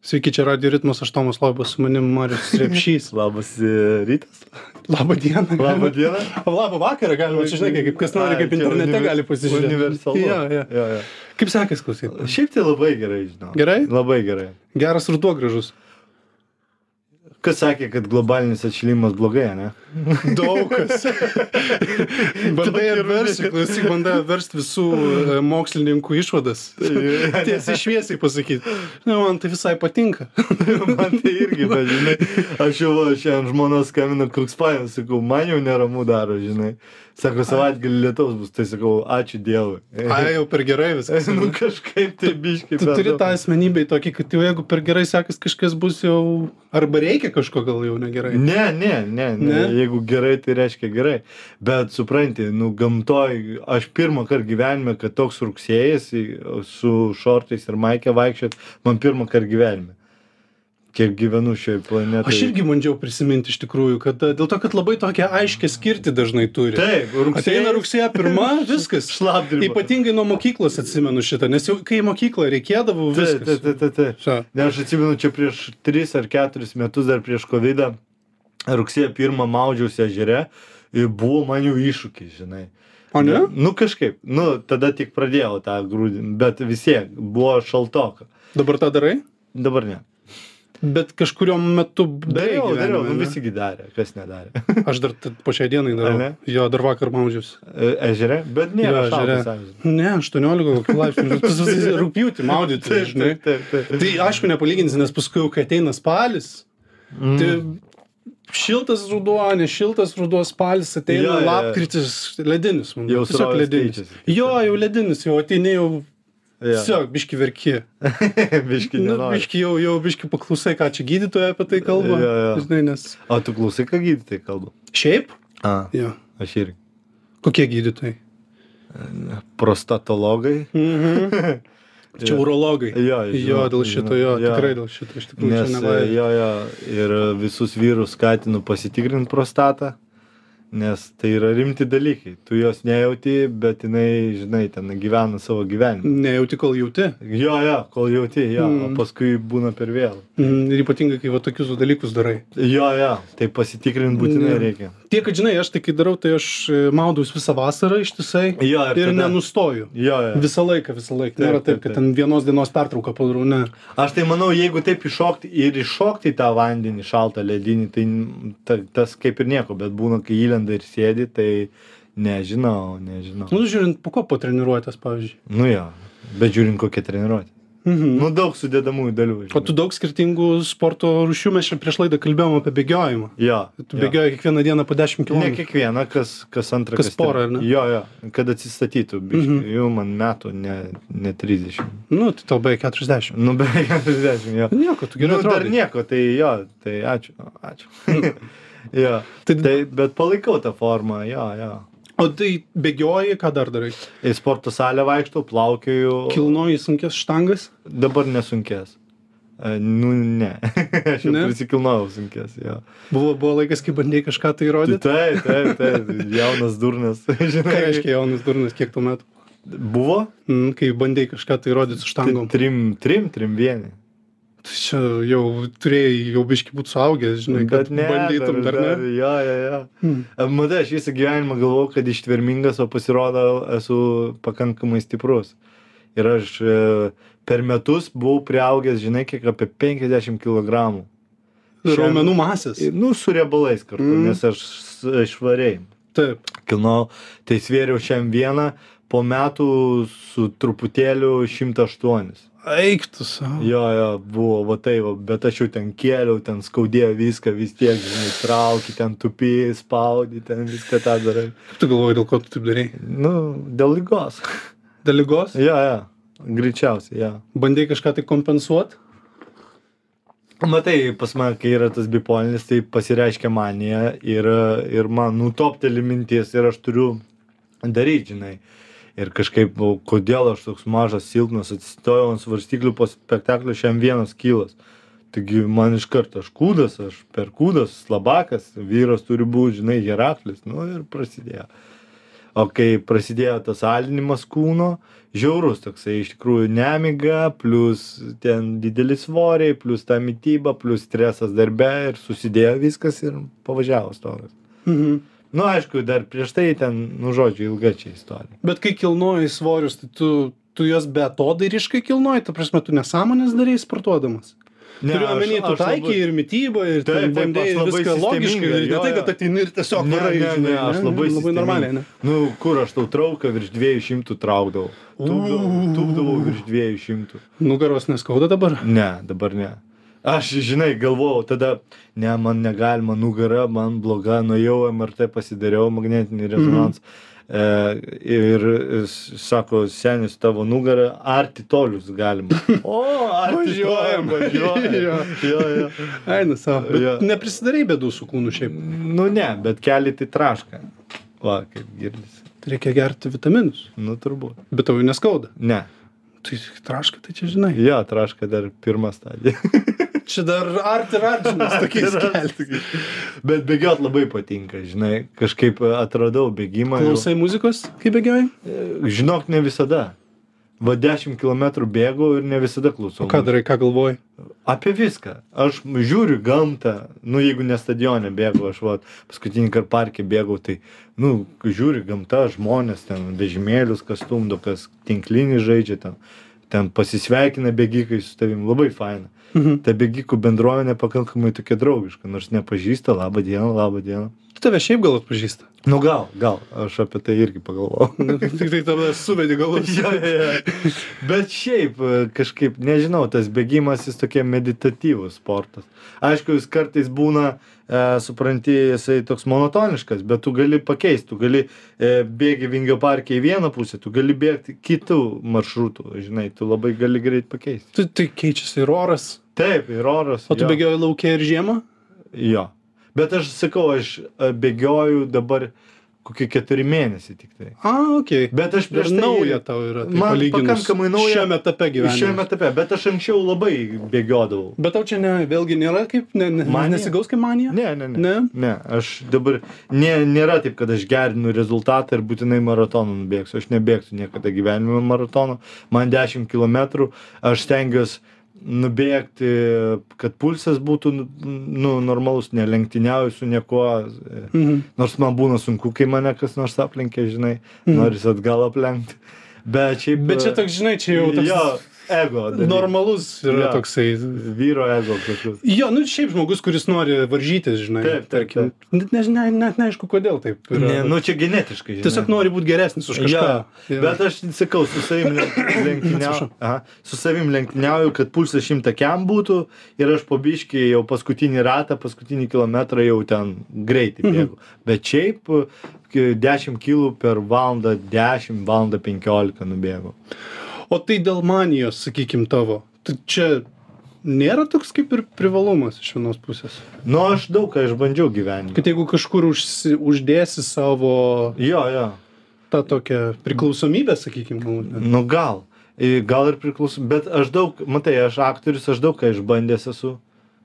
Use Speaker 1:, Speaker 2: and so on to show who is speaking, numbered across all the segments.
Speaker 1: Sveiki, čia Radio Ritmas, aš Tomas Lobas, su manim Marius Repšys.
Speaker 2: Labas e, rytas. Nu,
Speaker 1: Labą dieną.
Speaker 2: Labą dieną.
Speaker 1: Labą vakarą galima, čia žinai, kaip kas nori,
Speaker 2: Ai,
Speaker 1: kaip
Speaker 2: čia
Speaker 1: internete
Speaker 2: univer-
Speaker 1: gali pasižiūrėti.
Speaker 2: Universalu.
Speaker 1: Jo, jo.
Speaker 2: Jo, jo.
Speaker 1: Kaip sekasi klausyti?
Speaker 2: Šiaip tai labai gerai, žinau.
Speaker 1: Gerai?
Speaker 2: Labai gerai.
Speaker 1: Geras ruduo gražus.
Speaker 2: Kas sakė, kad globalinis atšilimas blogai, ne?
Speaker 1: Daug kas. bandai atversti, klausyk, bandai atversti visų e, mokslininkų išvadas. Tiesiai šviesiai pasakyti. Na, man tai visai patinka.
Speaker 2: Man tai irgi, bet žinai, aš jau va, šiandien žmonos skambina, koks paėmės, sakau, man jau neramu daro, žinai. Sako, savaitgalį lietaus bus, tai sakau, ačiū Dievui.
Speaker 1: Ai, jau per gerai viskas.
Speaker 2: nu kažkaip tai biškai.
Speaker 1: Tu turi tą asmenybę į tokį, kad jau jeigu per gerai sekas kažkas bus jau... Arba reikia kažko gal jau negerai.
Speaker 2: Ne, ne, ne, ne,
Speaker 1: Tai- Ne?
Speaker 2: ne. Jeigu gerai, tai reiškia gerai. Bet supranti, nu gamtoj, aš pirmą kartą gyvenime, kad toks rugsėjas į- su šortais ir maikė vaikščiot, man pirmą kartą gyvenime. Kiek gyvenu šioje planetoje.
Speaker 1: Aš irgi bandžiau prisiminti iš tikrųjų, kad e, dėl to, kad labai tokią aiškę skirti dažnai turi.
Speaker 2: Taip, rugsėjai.
Speaker 1: Ateina rugsėjo pirma, viskas.
Speaker 2: Šlapdriba.
Speaker 1: Ypatingai nuo mokyklos atsimenu šitą, nes jau kai į mokyklą reikėdavo
Speaker 2: Taip,
Speaker 1: viskas.
Speaker 2: taip, taip, taip. taip.
Speaker 1: Čia.
Speaker 2: Ne, aš atsimenu, čia prieš 3 ar 4 metus dar prieš COVID, rugsėjo 1 maudžiausi ežere, ir buvo man jau iššūkis, žinai.
Speaker 1: O ne?
Speaker 2: Nu kažkaip, nu tada tik pradėjau tą grūdį, bet vis tiek buvo šaltoka.
Speaker 1: Dabar tą darai?
Speaker 2: Dabar ne.
Speaker 1: Bet kažkurio metu
Speaker 2: Dariau,
Speaker 1: darei
Speaker 2: dariau,
Speaker 1: gyvenime,
Speaker 2: nu
Speaker 1: ne?
Speaker 2: visi darė, kas nedarė.
Speaker 1: Aš dar t- po šiai dienai
Speaker 2: Ar
Speaker 1: darau.
Speaker 2: ne?
Speaker 1: Jo, dar vakar maudžiausi.
Speaker 2: E, Ežere, bet ne,
Speaker 1: Jo, ežere.
Speaker 2: ežere.
Speaker 1: Ne, 18 kokių laipsnių. Tu susi- Rugpjūtį maudyti,
Speaker 2: Taip,
Speaker 1: žinai.
Speaker 2: taip, taip. taip.
Speaker 1: Tai aišku, nepalyginsi, nes paskui jau, kai ateina spalis,
Speaker 2: Mm.
Speaker 1: Tai šiltas ruduo, ne šiltas ruduo, spalis ateina, ja,
Speaker 2: Jo, jo, jo.
Speaker 1: lapkritis, ledinis. Man,
Speaker 2: Jau
Speaker 1: tiesiog
Speaker 2: srovės
Speaker 1: ledinis.
Speaker 2: keičiasi.
Speaker 1: Jo, jau ledinis, jau ateini, jau ja.
Speaker 2: Jo.
Speaker 1: tiesiog biški verki.
Speaker 2: Biški
Speaker 1: Nu,
Speaker 2: nenori.
Speaker 1: biški jau, jau biški paklausai, ką čia gydytoja apie tai kalba.
Speaker 2: Jo, jo.
Speaker 1: Žinai, nes...
Speaker 2: O tu klausai, ką gydytai kalba?
Speaker 1: Šiaip?
Speaker 2: A,
Speaker 1: Jo.
Speaker 2: aš irgi.
Speaker 1: Kokie gydytojai?
Speaker 2: Prostatologai.
Speaker 1: Mhm. Čia
Speaker 2: Jo.
Speaker 1: urologai.
Speaker 2: Jo, žinau,
Speaker 1: jo dėl šito, jo,
Speaker 2: žinau, jo.
Speaker 1: tikrai dėl šito, iš tikrųjų,
Speaker 2: Nes e,
Speaker 1: čia nevalia.
Speaker 2: jo, jo, ir visus vyrus skatinu pasitikrinti prostatą, nes tai yra rimti dalykai. Tu jos nejauti, bet jinai, žinai, ten gyvena savo gyvenimą.
Speaker 1: Nejauti, kol jauti.
Speaker 2: Jo, jo, kol jauti, jo, mm.
Speaker 1: Mm.
Speaker 2: o paskui būna per vėl.
Speaker 1: Mm, Ir ypatingai, kai va tokius dalykus darai.
Speaker 2: Jo, jo, tai pasitikrinti būtinai
Speaker 1: Ne.
Speaker 2: ne. reikia.
Speaker 1: Tiek, kad žinai, aš tai kai darau, tai aš e, maudaus visą vasarą ištisai
Speaker 2: Jo, ir,
Speaker 1: ir
Speaker 2: tada-
Speaker 1: nenustoju.
Speaker 2: Jo, jo.
Speaker 1: Visą laiką, visą laiką.
Speaker 2: Taip,
Speaker 1: Nėra taip,
Speaker 2: taip,
Speaker 1: kad
Speaker 2: taip.
Speaker 1: ten vienos dienos pertrauką padarau, ne.
Speaker 2: Aš tai manau, jeigu taip iššokti ir iššokti į tą vandenį šaltą ledinį, tai ta, tas kaip ir nieko, bet būna, kai įlenda ir sėdi, tai nežinau, nežinau.
Speaker 1: Nu, žiūrint, po ko po treniruotės, pavyzdžiui.
Speaker 2: Nu jo, bet žiūrint kokią treniruotę.
Speaker 1: Mhm.
Speaker 2: Nu daug sudėdamųjų dalių.
Speaker 1: O tu daug skirtingų sporto rušių, mes čia prieš laidą kalbėjom apie bėgiojimą.
Speaker 2: Jo.
Speaker 1: Tu
Speaker 2: jo.
Speaker 1: bėgioji kiekvieną dieną po 10
Speaker 2: Ne
Speaker 1: km.
Speaker 2: kiekvieną, kas, kas antrą.
Speaker 1: Kas
Speaker 2: tre-
Speaker 1: porą, ar ne?
Speaker 2: Jo, jo, kad atsistatytų. Biškai, mm
Speaker 1: Mhm.
Speaker 2: -hmm. Jau man metų, ne, ne 30.
Speaker 1: Nu, tai tau beveik 40.
Speaker 2: Nu beveik 40, jo.
Speaker 1: Nieko, tu gerai
Speaker 2: nu, dar
Speaker 1: atrodai.
Speaker 2: nieko, tai jo, tai ačiū. Ačiū. jo.
Speaker 1: Tai,
Speaker 2: Tai, bet palaikau tą formą, jo, jo.
Speaker 1: o tai bėgioji, ką dar darai?
Speaker 2: Į sporto salę vaikštau, plaukioju.
Speaker 1: Kilnoji sunkės štangas?
Speaker 2: Dabar nesunkės. E, Nu, ne. Aš jau
Speaker 1: Ne?
Speaker 2: prisikilnojau sunkės, jo.
Speaker 1: Buvo, buvo laikas, kai bandėjai kažką tai
Speaker 2: Tai
Speaker 1: rodyti.
Speaker 2: taip, taip, taip, jaunas durnas.
Speaker 1: Ką
Speaker 2: Žinai,
Speaker 1: reiškia jaunas durnas, kiek tu metų?
Speaker 2: Buvo?
Speaker 1: Mm, Kai bandėjai kažką tai rodyti su
Speaker 2: Ti-
Speaker 1: štangom.
Speaker 2: Trim, trim, trim vieni.
Speaker 1: Tai čia jau turėjai, jau biški būtų suaugęs, žinai, kad bandytum dar, ne.
Speaker 2: Jo, jo, jo.
Speaker 1: Hmm.
Speaker 2: Matai, aš visą gyvenimą galvojau, kad ištvermingas, o pasirodo esu pakankamai stiprus. Ir aš e, per metus buvau priaugęs, žinai, kiek apie 50 kg. Šiam-
Speaker 1: Raumenų masės.
Speaker 2: Nu, su riebalais kartu,
Speaker 1: Mm.
Speaker 2: mm. nes aš s- švariai
Speaker 1: Taip.
Speaker 2: kilnojau. Tai svėriau šiam vieną, po metų su truputėliu 108.
Speaker 1: Eiktų savo.
Speaker 2: Jo, jo, buvo, va tai, va, bet aš jau ten kėliau, ten skaudėjo viską, vis tiek, žinai, trauki, ten tupi, spaudi, ten viską tą darai.
Speaker 1: Kaip tu galvoji, dėl ko tu taip darai?
Speaker 2: Nu, dėl lygos.
Speaker 1: Dėl lygos?
Speaker 2: Jo, jo, greičiausiai, jo.
Speaker 1: Bandėjai kažką tai kompensuot?
Speaker 2: Matai, pas mane, kai yra tas bipolinis, tai pasireiškia manija ir, ir man nutopteli minties ir aš turiu daryti, žinai. Ir kažkaip, o, kodėl aš toks mažas, silpnas, atsistojau ant svarstyklių po spektaklio šiam vienas kylas. Taigi man iš karto aš kūdas, aš per kūdas, slabakas, vyras turi būti, žinai, Heraklis, nu ir prasidėjo. O kai prasidėjo tas alinimas kūno, žiaurus toksai iš tikrųjų nemiga, plus ten dideli svoriai, plus ta mytyba, plus stresas darbe ir susidėjo viskas ir pavažiavo stogas.
Speaker 1: Mhm.
Speaker 2: Nu, aišku, dar prieš tai ten, nu, žodžiu, ilga čia istorija.
Speaker 1: Bet kai kilnoji svorius, tai tu, tu juos be to dairiškai kilnoji, ta prasme, tu nesąmonės darai sportuodamas. Ne, Turiu omeny, tu taikiai ir mytybą, ir
Speaker 2: Taip,
Speaker 1: taip,
Speaker 2: taip,
Speaker 1: bandai
Speaker 2: aš labai
Speaker 1: viską logiškai.
Speaker 2: sistemingai,
Speaker 1: daryti. Ne
Speaker 2: jo,
Speaker 1: tai,
Speaker 2: jo.
Speaker 1: kad ateini ir tiesiog
Speaker 2: Ne,
Speaker 1: darai,
Speaker 2: ne,
Speaker 1: žinai,
Speaker 2: ne, aš labai
Speaker 1: labai
Speaker 2: sistemingai.
Speaker 1: normaliai, ne?
Speaker 2: Nu, kur aš tau trauką virš 200 traukdavau. Tūkdavau, tūkdavau virš 200.
Speaker 1: Nugaros neskauda dabar.
Speaker 2: Ne, dabar ne. Aš, žinai, galvojau tada, ne, man negalima, nugara, man bloga, nuėjau MRT, pasidariau magnetinį rezonansą. E, ir, ir s- sako, senis tavo nugarą, arti tolius galima. O,
Speaker 1: Važiuojam.
Speaker 2: važiuojam, važiuojam.
Speaker 1: Jo.
Speaker 2: jo, jo.
Speaker 1: Eina savo.
Speaker 2: Jo.
Speaker 1: Bet neprisidarai bėdų su kūnu šiaip.
Speaker 2: Nu ne, bet keli tai traška. Va, kaip girdisi.
Speaker 1: Tai reikia gerti vitaminus.
Speaker 2: Nu turbūt.
Speaker 1: Bet tau jų neskauda.
Speaker 2: Ne.
Speaker 1: Tai traška, tai čia žinai.
Speaker 2: Jo, traška dar pirmą stadiją.
Speaker 1: Čia dar art ir artimas tokiais
Speaker 2: Art ir art.
Speaker 1: kelti.
Speaker 2: Bet bėgiot labai patinka, žinai, kažkaip atradau bėgimą. jau-
Speaker 1: Klausai muzikos, kai bėgioji?
Speaker 2: E, Žinok, ne visada. Va 10 km bėgu ir ne visada klausau.
Speaker 1: O ką darai, ką galvoji?
Speaker 2: Apie viską. Aš žiūriu gamtą, nu jeigu ne stadione bėgu, aš va, paskutinį kartą parke bėgau, tai, nu, žiūriu gamtą, žmonės ten, vežimėlius, kas stumdo, kas tinklinį žaidžia ten, ten pasisveikina bėgikai su tavim, labai faina.
Speaker 1: Mhm.
Speaker 2: Ta bėgikų bendruomenė pakankamai tokia draugiška, nors nepažįsta, laba diena, laba diena.
Speaker 1: Tu tave šiaip gal atpažįsta.
Speaker 2: Nu gal, gal, aš apie tai irgi pagalvojau.
Speaker 1: Tik tai tada suvedi galus.
Speaker 2: jo, jo, jo. Bet šiaip e, kažkaip, nežinau, tas bėgimas jis tokie meditatyvus sportas. Aišku, jis kartais būna, e, supranti, jisai toks monotoniškas, bet tu gali pakeisti, tu gali e, bėgi Vingio parke į vieną pusę, tu gali bėgti kitų maršrutų, žinai, tu labai gali greit pakeisti.
Speaker 1: Tu tai keičiasi ir oras.
Speaker 2: Taip, ir oras.
Speaker 1: O tu
Speaker 2: jo.
Speaker 1: bėgioji laukia ir žiemą?
Speaker 2: Jo. Bet aš sakau, aš e, bėgioju dabar kokie keturi mėnesiai tik tai.
Speaker 1: A, okei. Okay.
Speaker 2: Bet aš
Speaker 1: Ir
Speaker 2: prieš tai...
Speaker 1: nauja tau yra. Tai
Speaker 2: Man
Speaker 1: palyginus
Speaker 2: pakankamai nauja-
Speaker 1: Šiame etape gyvenime.
Speaker 2: Šiame etape, bet aš anksčiau labai bėgiodavau.
Speaker 1: Bet tau čia ne, vėlgi nėra kaip, ne, ne,
Speaker 2: Manija?
Speaker 1: nesigaus kaip manija?
Speaker 2: Ne, ne, ne.
Speaker 1: Ne?
Speaker 2: ne aš dabar nė, nėra taip, kad aš gerinu rezultatą ir būtinai maratoną nubėgsiu. Aš nebėgsiu niekada gyvenime maratono. Man 10 km aš stengiuosi nubėgti, kad pulsas būtų nu, normalus, nelenktyniauju su niekuo.
Speaker 1: Mhm.
Speaker 2: Nors man būna sunku, kai mane kas nors aplenkia, žinai, noris atgal aplenkti. Bet šiaip...
Speaker 1: Bet čia toks, žinai, čia jau toks
Speaker 2: Jo, ego. dalykas.
Speaker 1: normalus yra
Speaker 2: Jo.
Speaker 1: toksai.
Speaker 2: Vyro ego kažkoks.
Speaker 1: Jo, nu šiaip žmogus, kuris nori varžytis, žinai,
Speaker 2: Taip, taip,
Speaker 1: Net, nežinia, net neaišku, kodėl taip. Yra.
Speaker 2: Ne, nu čia genetiškai. Žinai.
Speaker 1: Tiesiog nori būti geresnis už kažką.
Speaker 2: Ja, Bet aš sakau, su savim lenk- lenktyniauju, aha, su savim lenktyniauju, kad pulsas šimtakiam būtų ir aš pabiškiai jau paskutinį ratą, paskutinį kilometrą jau ten greitai bėgu. Bet šiaip k- 10 kilų per valandą, 10 valandą 15 nubėgu.
Speaker 1: O tai dėl manijos, sakykim, tavo. Tai čia nėra toks kaip ir privalumas iš vienos pusės.
Speaker 2: Nu, aš daug ką išbandžiau gyvenime.
Speaker 1: Kad jeigu kažkur užsi, uždėsi savo
Speaker 2: Jo, jo.
Speaker 1: tą tokią priklausomybę, sakykim, galbūt. net.
Speaker 2: Nu gal. I, Gal ir priklauso, bet aš daug, matai, aš aktorius, aš daug ką išbandęs esu,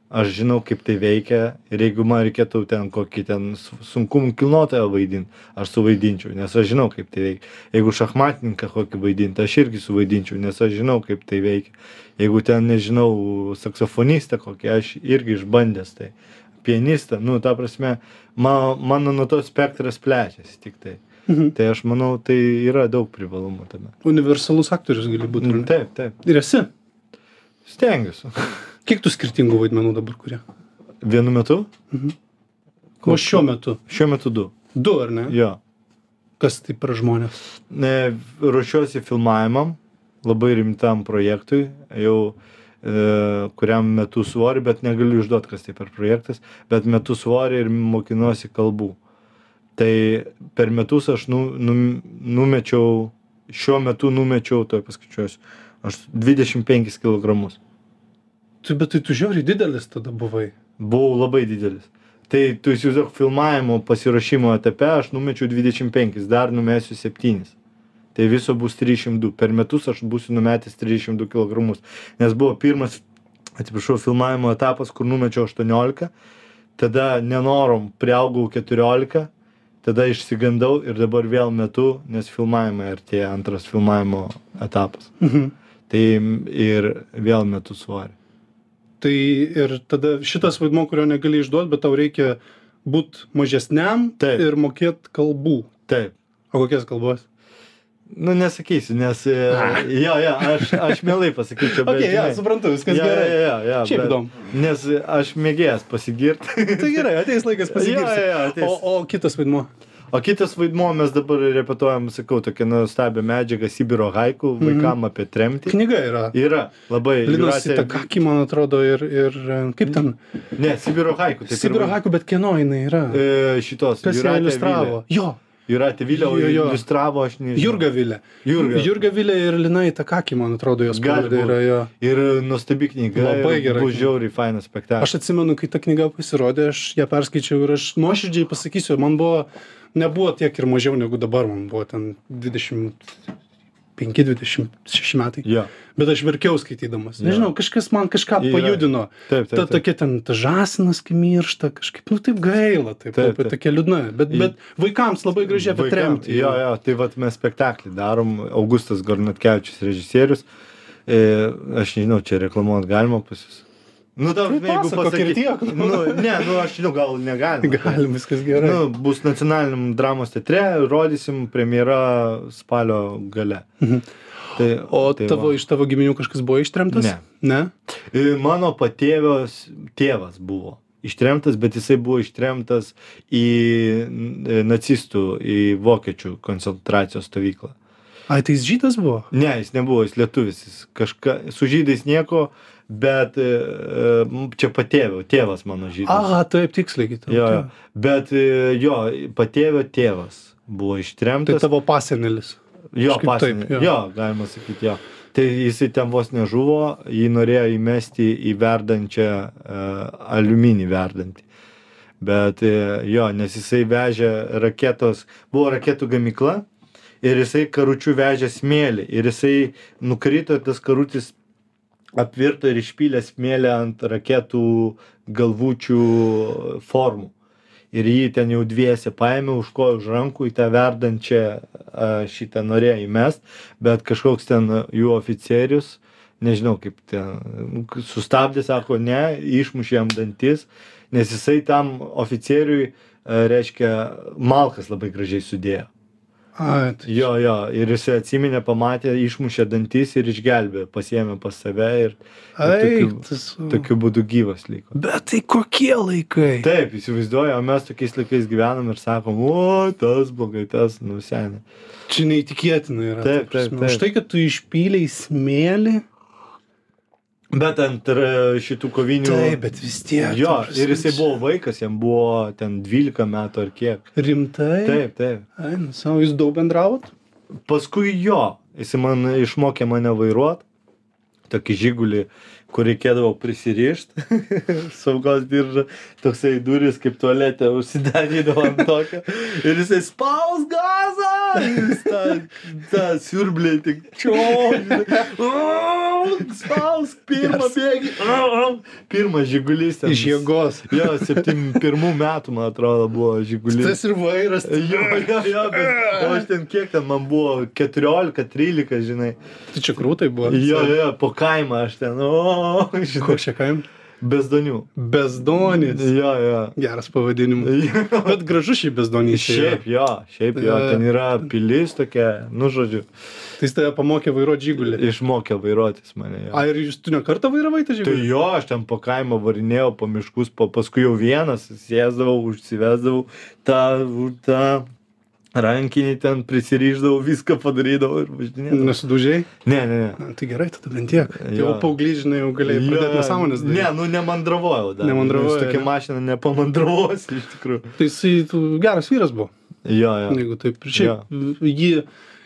Speaker 2: aš žinau, kaip tai veikia ir jeigu man reikėtų ten kokį ten su- sunkumų kilnotoją vaidinti, aš suvaidinčiau, nes aš žinau, kaip tai veikia. Jeigu šachmatininką kokį vaidinti, aš irgi suvaidinčiau, nes aš žinau, kaip tai veikia. Jeigu ten, nežinau, saksofonistą kokį, aš irgi išbandęs tai. Pianistą, nu, ta prasme, man, mano nuo to spektras plečiasi tik tai.
Speaker 1: Mhm.
Speaker 2: Tai aš manau, tai yra daug privalumų tame.
Speaker 1: Universalus aktorius gali būti. ar ne?
Speaker 2: Mm. Taip, taip.
Speaker 1: Ir esi.
Speaker 2: Stengiuosi.
Speaker 1: Kiek tu skirtingų vaidmenų dabar kuria?
Speaker 2: Vienu metu?
Speaker 1: O šiuo metu?
Speaker 2: Šiuo metu du.
Speaker 1: Du, ar ne?
Speaker 2: Jo.
Speaker 1: Kas tai per žmonės?
Speaker 2: Ne, ruošiuosi filmavimam, labai rimtam projektui, jau e, kuriam metu svorį, bet negaliu išduoti, kas tai per projektas, bet metu svorį ir mokinuosi kalbų. Tai per metus aš nu, nu, numečiau, šiuo metu numečiau, toj paskaičiuosiu, aš 25 kg.
Speaker 1: Tu, bet tai tu žiauriai didelis tada buvai.
Speaker 2: Buvau labai didelis. Tai tu įsivaizduok filmavimo pasiruošimo etape, aš numečiau 25, dar numesiu 7. Tai viso bus 302. Per metus aš būsiu numetęs 302 kg. Nes buvo pirmas, atsiprašau, filmavimo etapas, kur numečiau 18, tada nenorom priaugau 14, tada išsigandau ir dabar vėl metu, nes filmavimai artėja antras filmavimo etapas.
Speaker 1: Mhm.
Speaker 2: Tai ir vėl metu svorį.
Speaker 1: Tai ir tada šitas vaidmo, kurio negali išduoti, bet tau reikia būti mažesniam
Speaker 2: Taip.
Speaker 1: ir mokėti kalbų.
Speaker 2: Taip.
Speaker 1: O kokias kalbas?
Speaker 2: Nu, nesakysiu, nes... e, Jo, jo, aš, aš mielai pasakyčiau.
Speaker 1: Gerai, okay, ja,
Speaker 2: žinai,
Speaker 1: suprantu, viskas
Speaker 2: jo,
Speaker 1: ja, gerai.
Speaker 2: Jo,
Speaker 1: Ja,
Speaker 2: jo, jo,
Speaker 1: Šiaip
Speaker 2: bet-
Speaker 1: įdomu.
Speaker 2: Nes aš mėgėjas pasigirti.
Speaker 1: Tai gerai, ateis laikas
Speaker 2: Jo,
Speaker 1: pasigirti.
Speaker 2: jo, jo, ateis.
Speaker 1: O, o kitas vaidmo.
Speaker 2: O kitas vaidmuo mes dabar repetuojam, sakau, tokia nuostabi medžiaga Sibiro haiku
Speaker 1: Mhm.
Speaker 2: vaikam apie tremtį.
Speaker 1: Tai Knyga yra.
Speaker 2: Yra labai.
Speaker 1: Linas
Speaker 2: Jūratė-
Speaker 1: Itakaki, man atrodo, ir, ir e, kaip ten.
Speaker 2: Ne, Sibiro haiku. taip ir
Speaker 1: Sibiro
Speaker 2: va-
Speaker 1: haku, bet kieno jinai yra?
Speaker 2: E, Šitos.
Speaker 1: Kas ją
Speaker 2: Jūratė
Speaker 1: iliustravo? Jo,
Speaker 2: Vilė. Jūratė Vilė, o
Speaker 1: Jo, jo.
Speaker 2: iliustravo aš nežinau.
Speaker 1: Jurga Vilė.
Speaker 2: Jurga.
Speaker 1: Jurga Vilė ir Lina Itakaki, man atrodo, jos
Speaker 2: Gali
Speaker 1: pavardė
Speaker 2: būt.
Speaker 1: yra jo.
Speaker 2: Ir nuostabi knyga.
Speaker 1: Labai
Speaker 2: ir
Speaker 1: gera
Speaker 2: Buvo
Speaker 1: knyga.
Speaker 2: žiauriai fainas spektaklis.
Speaker 1: Aš atsimenu, kai ta knyga pasirodė, aš ją perskaičiau ir aš nuoširdžiai pasakysiu, man buvo, nebuvo tiek ir mažiau negu dabar, man buvo ten 25-26 metai.
Speaker 2: Jo.
Speaker 1: Bet aš verkiau skaitydamas.
Speaker 2: Jo.
Speaker 1: Nežinau, kažkas man kažką
Speaker 2: Yra.
Speaker 1: pajudino.
Speaker 2: Taip,
Speaker 1: Ta
Speaker 2: taip. taip.
Speaker 1: tokia ten, ta žasinas, kai miršta, kažkaip, nu taip gaila, taip,
Speaker 2: Taip,
Speaker 1: taip, taip.
Speaker 2: taip.
Speaker 1: tokia liūdna. Bet,
Speaker 2: Ir-
Speaker 1: bet vaikams labai gražiai apie
Speaker 2: Vaikam-
Speaker 1: tremtį.
Speaker 2: Jo, jo, tai vat mes spektaklį darom, Augustas Gornatkevičius režisierius. E, aš nežinau, čia reklamuot galima pas jūs. Nu, tau,
Speaker 1: Nu,
Speaker 2: žinai, jeigu
Speaker 1: pasakok ir
Speaker 2: pasakyt,
Speaker 1: tiek.
Speaker 2: Nu, ne, nu, aš žinau, gal negalima.
Speaker 1: Galim, viskas gerai.
Speaker 2: Nu, bus nacionaliniam dramos teatre, rodysim premjera spalio gale.
Speaker 1: Mhm.
Speaker 2: Tai,
Speaker 1: O
Speaker 2: tai
Speaker 1: tavo,
Speaker 2: va.
Speaker 1: iš tavo giminių kažkas buvo ištremtas?
Speaker 2: Ne.
Speaker 1: Ne?
Speaker 2: E, Mano patėvios tėvas buvo ištremtas, bet jisai buvo ištremtas į n- nacistų, į vokiečių koncentracijos stovyklą.
Speaker 1: Ai, tai jis žydas buvo?
Speaker 2: Ne, jis nebuvo, jis lietuvis, jis kažka, su žydais nieko, bet e, e, čia patėvio, tėvas mano žydas.
Speaker 1: A, taip, tiksliai kitą.
Speaker 2: jo, jo. bet e, jo, patėvio tėvas buvo
Speaker 1: Tai
Speaker 2: ištremtas.
Speaker 1: tavo pasenelis.
Speaker 2: Jo,
Speaker 1: Kažkaip
Speaker 2: pasinė.
Speaker 1: taip, jo.
Speaker 2: Jo. jo, galima sakyti, jo. Tai jisai ten vos nežuvo, jį norėjo įmesti į verdančią uh, aliuminį verdantį. Bet uh, jo, nes jisai vežė raketos, buvo raketų gamykla ir jisai karučių vežė smėlį ir jisai nukrito tas karutis apvirto ir išpylė smėlį ant raketų galvučių formų. Ir jį ten jau dviese paėmė už kojų, už rankų į tą verdančią a, šitą norėjo įmest, bet kažkoks ten jų oficierius, nežinau kaip ten, nu, k- sustabdė, sako, ne, išmušė jam dantis, nes jisai tam oficieriui, a, reiškia, malkas labai gražiai sudėjo.
Speaker 1: A, tai
Speaker 2: Jo, jo, ir jis atsiminė, pamatė, išmušė dantis ir išgelbėjo, pasiėmė pas save ir
Speaker 1: Ai,
Speaker 2: tokiu-
Speaker 1: tas...
Speaker 2: tokiu būdu gyvas liko.
Speaker 1: Bet tai kokie laikai?
Speaker 2: Taip, įsivaizduoju, o mes tokiais laikais gyvenam ir sakom, o, tas blogai, tas nu, nusenė.
Speaker 1: Čia neįtikėtina yra. ta
Speaker 2: Taip, taip,
Speaker 1: prasme.
Speaker 2: taip.
Speaker 1: Už tai, kad tu išpylei smėlį.
Speaker 2: Bet ant e, šitų kovinių...
Speaker 1: Taip, bet vis tiek.
Speaker 2: Jo,
Speaker 1: ta prasme,
Speaker 2: ir jisai
Speaker 1: čia-
Speaker 2: buvo vaikas, jam buvo ten 12 metų ar kiek.
Speaker 1: Rimtai?
Speaker 2: Taip, taip.
Speaker 1: Ai, nu, savo, jūs daug bendravot?
Speaker 2: Paskui jo, jis man išmokė mane vairuot, tokį žygulį, kur reikėdavo prisirišti, saugos diržą, toksai duris kaip tualete užsidarydavo ant tokio ir jisai spaus gazą, ir jis tą, tą siurblį tik čiožį, spaus pirmą bėgį, pirmas žygulys. ten.
Speaker 1: Iš jėgos.
Speaker 2: Jo, 71 metų, man atrodo, buvo žygulys.
Speaker 1: Tas ir vairas. tai
Speaker 2: Jo, jo, jo, bet o aš ten kiek ten man buvo 14, 13, žinai.
Speaker 1: Tai čia krūtai buvo.
Speaker 2: Jo, jo, jo, po kaimą aš ten, o, žinai,
Speaker 1: Koks čia kaim?
Speaker 2: bezdonių.
Speaker 1: Bezdonis.
Speaker 2: Jo, jo.
Speaker 1: Geras pavadinimas.
Speaker 2: Jo.
Speaker 1: Bet gražu šį bezdonį
Speaker 2: Šiaip jo, šiaip jo, ten yra pilis tokia, nu žodžiu,
Speaker 1: Tai jis tave pamokė vairuoti žygulį.
Speaker 2: išmokė vairuotis mane. Jo.
Speaker 1: A, ir jūs tu ne kartą vairavai tą
Speaker 2: Tai
Speaker 1: žygulį?
Speaker 2: jo, aš ten po kaimą varinėjau, po miškus, po, paskui jau vienas, sėsdavau, užsivesdavau tą, tą rankinį ten prisiryždavau, viską padarydavau ir važinėjau.
Speaker 1: Nesudūžiai?
Speaker 2: Ne, ne, ne.
Speaker 1: Na, tai gerai, tada bent tiek.
Speaker 2: Jo.
Speaker 1: Jau paauglys, žinai, jau galėjai pradėti
Speaker 2: Jo,
Speaker 1: nesąmonės daryti.
Speaker 2: Ne, nu nemandravojau dar.
Speaker 1: Nemandravojai,
Speaker 2: Su tokia
Speaker 1: ne?
Speaker 2: mašina nepamandravos iš tikrųjų.
Speaker 1: Tai jisai tu- geras vyras buvo,
Speaker 2: Jo,
Speaker 1: ja.
Speaker 2: jo.
Speaker 1: jeigu taip. Ir Šiaip, ja. jį,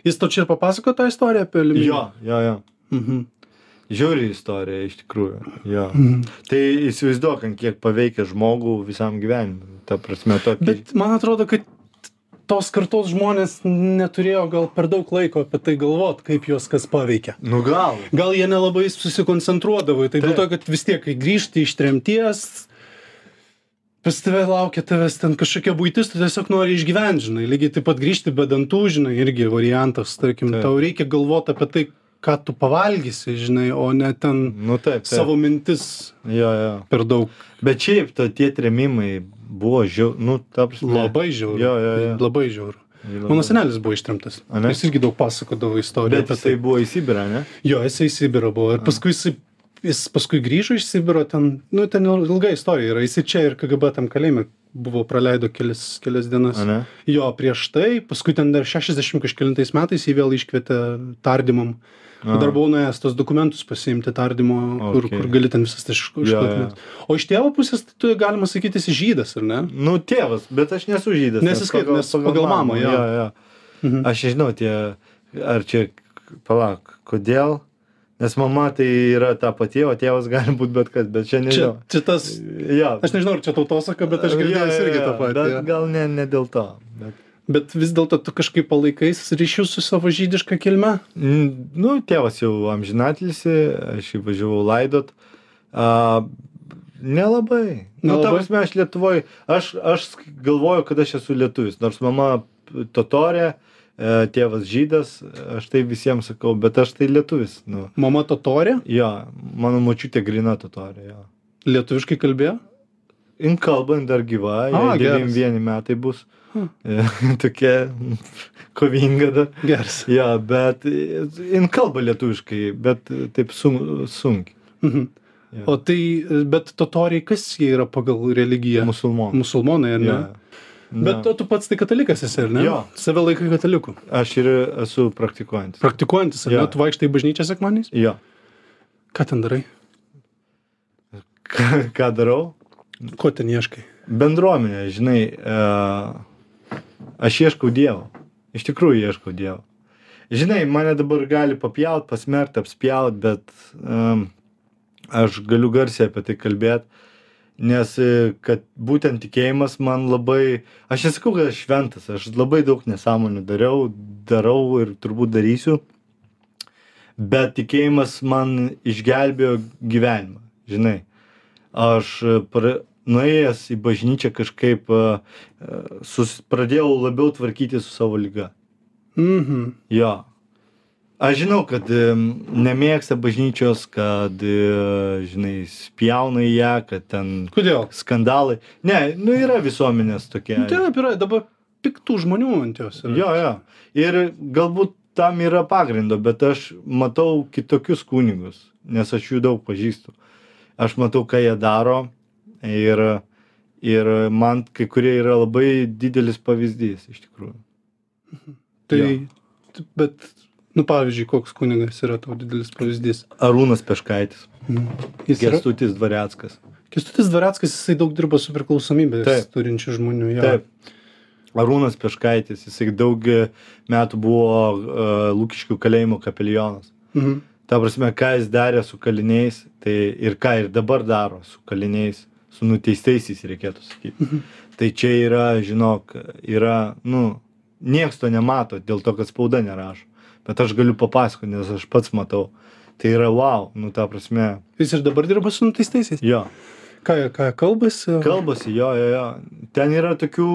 Speaker 1: jis to čia ir papasako tą istoriją apie Liūną.
Speaker 2: Jo, jo, jo.
Speaker 1: Mhm.
Speaker 2: Žiauri istorija iš tikrųjų. Jo.
Speaker 1: Mhm.
Speaker 2: Tai įsivaizduok, ant kiek paveikia žmogų visam gyvenimui. Ta prasme, tokį.
Speaker 1: Bet man atrodo, kad tos kartos žmonės neturėjo gal per daug laiko apie tai galvot, kaip juos kas paveikia.
Speaker 2: Nu gal.
Speaker 1: Gal jie nelabai susikoncentruodavo, į tai dėl
Speaker 2: Taip.
Speaker 1: to, kad vis tiek, kai grįžti iš tremties, pas tave laukia tavęs ten kažkokia buitis, tu tiesiog nori išgyventi, žinai, lygiai taip pat grįžti be dantų, žinai, irgi variantas, tarkim,
Speaker 2: Taip.
Speaker 1: tau reikia galvoti apie tai, ką tu pavalgysi, žinai, o ne ten
Speaker 2: Nu taip, taip.
Speaker 1: savo mintis
Speaker 2: Jo, jo.
Speaker 1: per daug.
Speaker 2: Bet šiaip to, tie tremimai buvo žiau, nu, taps.
Speaker 1: Labai žiauru.
Speaker 2: Jo, jo, jo. Nu,
Speaker 1: Labai žiauru. Mano senelis buvo ištrimtas.
Speaker 2: A, ne?
Speaker 1: Jis irgi daug pasakodavo istorijų
Speaker 2: Bet
Speaker 1: apie
Speaker 2: jisai
Speaker 1: tai.
Speaker 2: buvo į Sibirą, ne?
Speaker 1: Jo, jisai į Sibirą buvo. Ir paskui jisai, jis paskui grįžo iš Sibiro, ten, nu, ten ilga istorija yra. Jisai čia ir KGB tam kalėjime buvo praleido kelias, kelias dienas.
Speaker 2: A, ne?
Speaker 1: Jo, prieš tai, paskui ten dar 60 kažkėlintais metais jį vėl iškvietė tardymam.
Speaker 2: A.
Speaker 1: Dar buvau nuėjęs tos dokumentus pasiimti tardymo, kur,
Speaker 2: Okay.
Speaker 1: kur gali ten visas tai
Speaker 2: Jo,
Speaker 1: išklausymas. O iš tėvo pusės, tai tu galima sakyti, esi žydas, ar ne?
Speaker 2: Nu, tėvas, bet aš nesu žydas.
Speaker 1: Nesiskait- nes pagal mamą, jo.
Speaker 2: jo, jo.
Speaker 1: Mhm.
Speaker 2: Aš nežinau, tie, ar čia, palauk, kodėl? Nes mama tai yra ta pati, o tėvas gali būti bet kas, bet čia
Speaker 1: Čia,
Speaker 2: nežinau.
Speaker 1: čia tas,
Speaker 2: Jo.
Speaker 1: aš nežinau, ar čia tautosaka, bet aš
Speaker 2: Jo,
Speaker 1: girdėjęs
Speaker 2: jo,
Speaker 1: irgi
Speaker 2: jo,
Speaker 1: tą patį.
Speaker 2: Bet
Speaker 1: jo.
Speaker 2: gal ne, ne dėl to. Bet...
Speaker 1: Bet vis dėlto tu kažkaip palaikais ryšius su savo žydiška kilme?
Speaker 2: N- Nu, tėvas jau amžinatilsi, aš jį važiavau laidot. A, nelabai. Nu, ta
Speaker 1: Nelabai?
Speaker 2: prasme, aš Lietuvoje, aš, aš sk- galvoju, kad aš esu lietuvis, nors mama totorė, e, tėvas žydas, aš tai visiems sakau, bet aš tai lietuvis. Nu.
Speaker 1: Mama totorė,
Speaker 2: Jo, mano močiutė grina totorė. Jo.
Speaker 1: lietuviškai kalbėjo.
Speaker 2: In kalbant dar gyva,
Speaker 1: A, geras.
Speaker 2: 91 metai bus.
Speaker 1: Hm.
Speaker 2: E, Tokia kovinga dar.
Speaker 1: Geras.
Speaker 2: Ja, bet e, jin kalba lietuviškai, bet e, taip sun, sunkiai.
Speaker 1: Mhm.
Speaker 2: Jo.
Speaker 1: O tai, bet totoriai, kas jie yra pagal religiją?
Speaker 2: Musulmonų.
Speaker 1: Musulmonai, ar ne?
Speaker 2: Ja.
Speaker 1: Bet
Speaker 2: Na,
Speaker 1: o tu pats tai katalikas esi, ar ne?
Speaker 2: Jo.
Speaker 1: Save laikai kataliku.
Speaker 2: aš ir esu praktikuojantis.
Speaker 1: Praktikuojantis, ar
Speaker 2: Jo.
Speaker 1: ne? Tu vaikštai į bažnyčią sekmaniais?
Speaker 2: Jo.
Speaker 1: Ką ten darai?
Speaker 2: Ką, ką darau?
Speaker 1: Ko ten ieškai?
Speaker 2: Bendruomenė, žinai, e, aš ieškau Dievo. Iš tikrųjų ieškau Dievo. Žinai, mane dabar gali papjaut, pasmert, apspjaut, bet um, aš galiu garsiai apie tai kalbėti, nes e, kad būtent tikėjimas man labai, aš nesakau, kad aš šventas, aš labai daug nesąmonių dariau, darau ir turbūt darysiu, bet tikėjimas man išgelbėjo gyvenimą, žinai. Aš e, pra, nuėjęs į bažnyčią kažkaip e, e, sus, pradėjau labiau tvarkyti su savo lyga.
Speaker 1: Mhm.
Speaker 2: Jo. Aš žinau, kad e, nemėgsta bažnyčios, kad, e, žinai, spjauna į ją, kad ten
Speaker 1: Kodėl?
Speaker 2: skandalai. Ne, nu yra visuomenės tokie.
Speaker 1: Nu, Taip, yra dabar piktų žmonių ant jos. yra.
Speaker 2: Jo, jo. Ir galbūt tam yra pagrindo, bet aš matau kitokius kunigus, nes aš jų daug pažįstu. Aš matau, ką jie daro ir, ir man kai kurie yra labai didelis pavyzdys iš tikrųjų.
Speaker 1: Tai,
Speaker 2: Jo.
Speaker 1: t- bet, nu pavyzdžiui, koks kunigas yra tau didelis pavyzdys. Mhm.
Speaker 2: Arūnas Peškaitis,
Speaker 1: Jis yra.
Speaker 2: Gestutis Dvaretskas.
Speaker 1: Kestutis Dvaretskas, jisai daug dirba su priklausomybės
Speaker 2: Taip.
Speaker 1: turinčių žmonių. Jo.
Speaker 2: Taip. Arūnas Peškaitis, jisai daug metų buvo uh, Lūkiškių kalėjimo kapelionas.
Speaker 1: Mhm.
Speaker 2: Ta prasme, ką jis darė su kaliniais, tai ir ką ir dabar daro su kaliniais, su nuteistaisiais, reikėtų sakyti.
Speaker 1: Mhm.
Speaker 2: Tai čia yra, žinok, yra, nu, nieks to nemato dėl to, kad spauda nerašo. Bet aš galiu papasakoti, nes aš pats matau. Tai yra wow, nu, ta prasme,
Speaker 1: Jis ir dabar dirba su nuteistaisiais.
Speaker 2: jo.
Speaker 1: Ką, ką kalbasi?
Speaker 2: Kalbasi, jo, jo, jo. Ten yra tokių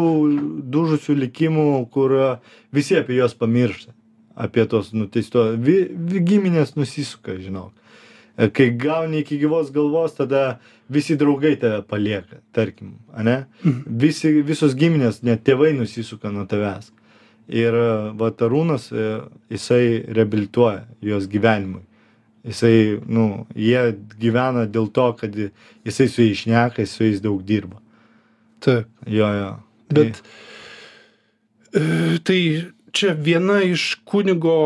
Speaker 2: dužusių likimų, kur e, visi apie juos pamiršta. Apie tos nu, nuteisto. Vi, vi, giminės nusisuka, žinok. E, Kai gauni iki gyvos galvos, tada visi draugai tave palieka, tarkim, ne? Visi, visos giminės, net tėvai nusisuka nuo tavęs. Ir e, vat Arūnas, e, jisai reabilituoja jos gyvenimui. Jisai, nu, jie gyvena dėl to, kad jisai su jais šneka, jis su jais daug dirba.
Speaker 1: Taip.
Speaker 2: Jo, jo. Tai
Speaker 1: Bet e, tai čia viena iš kunigo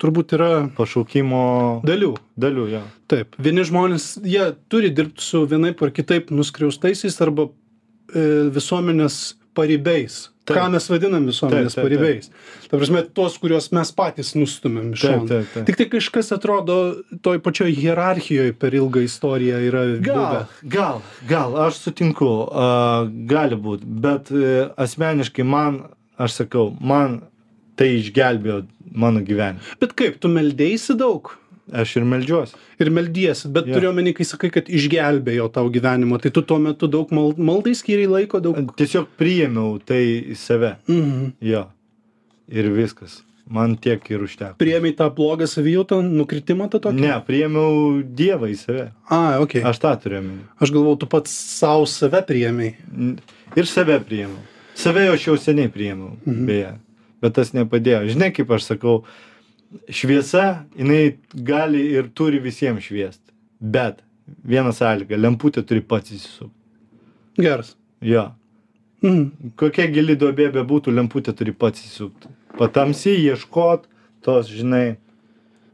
Speaker 1: turbūt yra
Speaker 2: Pašaukimo
Speaker 1: dalių.
Speaker 2: dalių, jo.
Speaker 1: Taip. Vieni žmonės, jie turi dirbti su vienaip ar kitaip nuskriaustaisiais arba e, visuomenės paribiais.
Speaker 2: Taip.
Speaker 1: Taip. Ką mes vadinam visuomenės
Speaker 2: Taip,
Speaker 1: taip,
Speaker 2: taip, taip.
Speaker 1: taip, paribiais. Taip. Ta prasme, tos, kuriuos mes patys nustumėm iš
Speaker 2: Taip,
Speaker 1: šono.
Speaker 2: taip, taip.
Speaker 1: Tik tai kažkas atrodo toj pačioj hierarchijoje per ilgą istoriją yra buvę.
Speaker 2: Gal, gal, gal, aš sutinku, a, gali būti, bet e, asmeniškai man, aš sakau, man tai išgelbėjo mano gyvenimą.
Speaker 1: Bet kaip, tu meldėsi daug?
Speaker 2: Aš ir melžiuosi.
Speaker 1: Ir meldiesi, bet
Speaker 2: Jo.
Speaker 1: yeah. turiu omeny, kai sakai, kad išgelbėjo tau gyvenimą, tai tu tuo metu daug mal, maldai skiriai laiko, daug...
Speaker 2: Tiesiog priėmiau tai į save.
Speaker 1: Mhm.
Speaker 2: Jo. Ir viskas. Man tiek ir užteko.
Speaker 1: Priemi tą blogą savijautą, nukritimą tą tokį?
Speaker 2: Ne, priėmiau Dievą į save.
Speaker 1: A, ok. Aš,
Speaker 2: Aš tą turiu omeny.
Speaker 1: aš galvau, tu pats savo save priemi.
Speaker 2: N- Ir save priėmiau. Save aš jau seniai priėmiau, mhm. beje. Bet tas nepadėjo. Žinai, kaip aš sakau, šviesa, jinai gali ir turi visiems šviesti. Bet viena sąlyga, lemputė turi pats įsisukti.
Speaker 1: Geras.
Speaker 2: Jo.
Speaker 1: Mhm.
Speaker 2: Kokia gili duobė bebūtų, lemputė turi pats įsisukti. Patamsi, ieškot tos, žinai,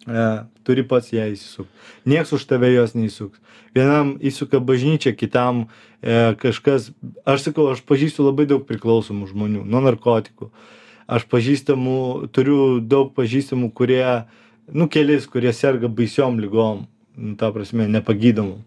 Speaker 2: e, turi pats ją įsisukti. Niekas už tave jos neįsuks. Vienam įsuka bažnyčia, kitam e, kažkas, aš sakau, aš pažįstu labai daug priklausomų žmonių nuo narkotikų. Aš pažįstamų, turiu daug pažįstamų, kurie, nu, keliais, kurie serga baisiom lygom, nu, ta prasme, nepagydomom.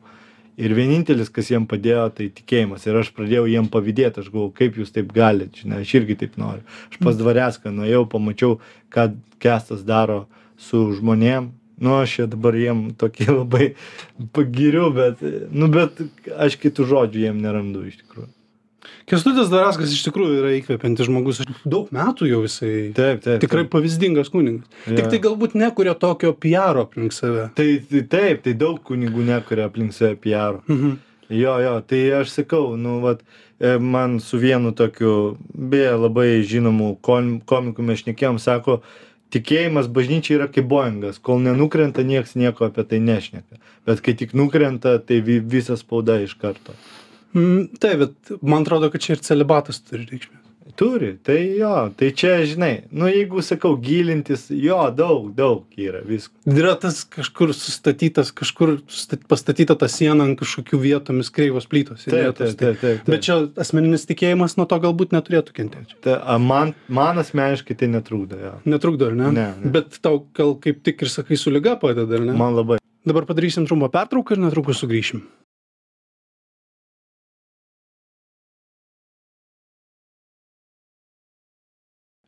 Speaker 2: Ir vienintelis, kas jiem padėjo, tai tikėjimas. Ir aš pradėjau jiem pavydėti, aš galvoju, kaip jūs taip galite, žinai, aš irgi taip noriu. Aš
Speaker 1: Mm.
Speaker 2: pas dvareską nuėjau, pamačiau, ką kestas daro su žmonėm. Nu, aš čia dabar jiem tokį labai pagiriu, bet, nu, bet aš kitų žodžių jiem nerandu iš tikrųjų.
Speaker 1: Kestutis Daraskas iš tikrųjų yra įkvepiantis žmogus. Daug metų jau jisai.
Speaker 2: Taip, taip.
Speaker 1: Tikrai pavyzdingas kuningas.
Speaker 2: Jo.
Speaker 1: Yeah. Tik tai galbūt nekuria tokio PR aplink save.
Speaker 2: Tai, tai taip, tai daug kunigų nekuria aplink save PR.
Speaker 1: Mhm.
Speaker 2: Jo, jo, tai aš sakau, nu, vat, e, man su vienu tokiu, beje, labai žinomu kon- komiku mes šnekėjom, sako, tikėjimas bažnyčia yra kaip boingas, kol nenukrenta, nieks nieko apie tai nešneka. Bet kai tik nukrenta, tai vi- visa spauda iš karto.
Speaker 1: Mm, taip, bet man atrodo, kad čia ir celibatas turi reikšmę.
Speaker 2: Turi, tai jo, tai čia, žinai, nu, jeigu sakau, gilintis, jo, daug, daug yra visko.
Speaker 1: Yra tas kažkur sustatytas, kažkur sustat- pastatyta ta siena ant kažkokių vietomis kreivos plytos.
Speaker 2: Taip, taip, taip, taip. taip.
Speaker 1: Tai Bet čia asmeninis tikėjimas nuo to galbūt neturėtų kentėti.
Speaker 2: Ta, a, man, man asmeniškai tai netrūda, jo.
Speaker 1: Netrukdo, ar ne?
Speaker 2: Ne, ne.
Speaker 1: Bet tau gal kaip tik ir sakai su lyga padeda, ar ne?
Speaker 2: Man labai.
Speaker 1: Dabar padarysim trumpą pertrauką ir netrukus sugrįšim.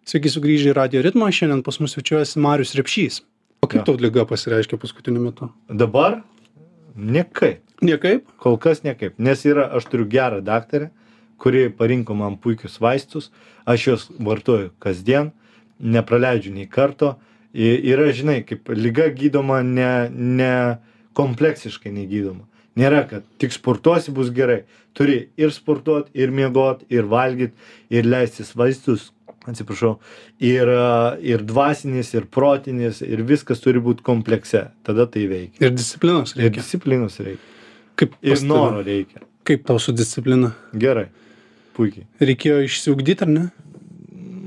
Speaker 1: Sveiki sugrįžę į Radio ritmą, šiandien pas mus svečiuojasi Marius Repšys. O kaip
Speaker 2: Jo.
Speaker 1: tau lyga pasireiškia paskutiniu metu?
Speaker 2: Dabar? Niekai.
Speaker 1: Niekaip?
Speaker 2: Kol kas niekaip, nes yra, aš turiu gerą daktarę, kuri parinko man puikius vaistus, aš juos vartoju kasdien, nepraleidžiu nei karto. I- Yra, žinai, kaip lyga gydoma ne, ne kompleksiškai negydoma. Nėra, kad tik sportuosi bus gerai. Turi ir sportuoti, ir miegoti, ir valgyti, ir leistis vaistus, atsiprašau, ir, a, ir dvasinis, ir protinis, ir viskas turi būti komplekse. Tada tai veikia.
Speaker 1: Ir disciplinos
Speaker 2: Ir
Speaker 1: reikia.
Speaker 2: disciplinos reikia.
Speaker 1: Kaip,
Speaker 2: Ir
Speaker 1: pas tave?
Speaker 2: noro reikia.
Speaker 1: kaip tau su disciplina?
Speaker 2: Gerai, puikiai.
Speaker 1: Reikėjo išsiugdyti, ar ne?